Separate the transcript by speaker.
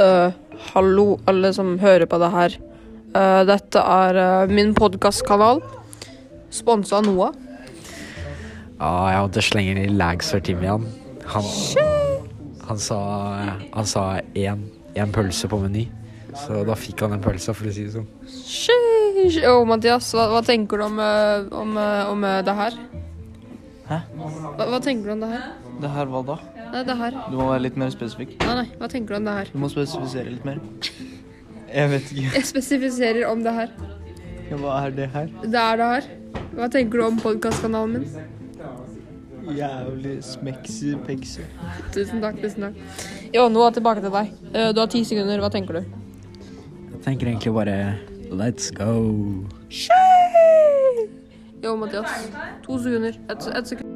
Speaker 1: Eh, hallo, alle som hører på det her. Eh, dette er eh, min podkastkanal. Sponsa av Noah.
Speaker 2: Ah, Ja, jeg måtte slenge inn i lags for timian. Han, han sa Han sa én, én pølse på meny. Så da fikk han den pølsa, for å si det sånn.
Speaker 1: Sheesh. Og Mathias, hva, hva tenker du om, eh, om, eh, om eh, det her?
Speaker 3: Hæ?
Speaker 1: Hva, hva tenker du om det her?
Speaker 3: Det her hva da?
Speaker 1: Nei, det her.
Speaker 3: Du må være litt mer spesifikk.
Speaker 1: Nei, nei, hva tenker du om det her?
Speaker 3: Du må spesifisere litt mer. Jeg vet ikke.
Speaker 1: Jeg spesifiserer om det her.
Speaker 3: Ja, Hva er det her?
Speaker 1: Det er det her. Hva tenker du om podkastkanalen min?
Speaker 3: Jævlig smekser, pekser.
Speaker 1: Tusen takk, tusen takk. Jo, Noah, tilbake til deg. Eh, Du har ti sekunder, hva tenker du?
Speaker 2: Jeg tenker egentlig bare let's go.
Speaker 1: Jo, Mathias. To sekunder. Ett et sekund.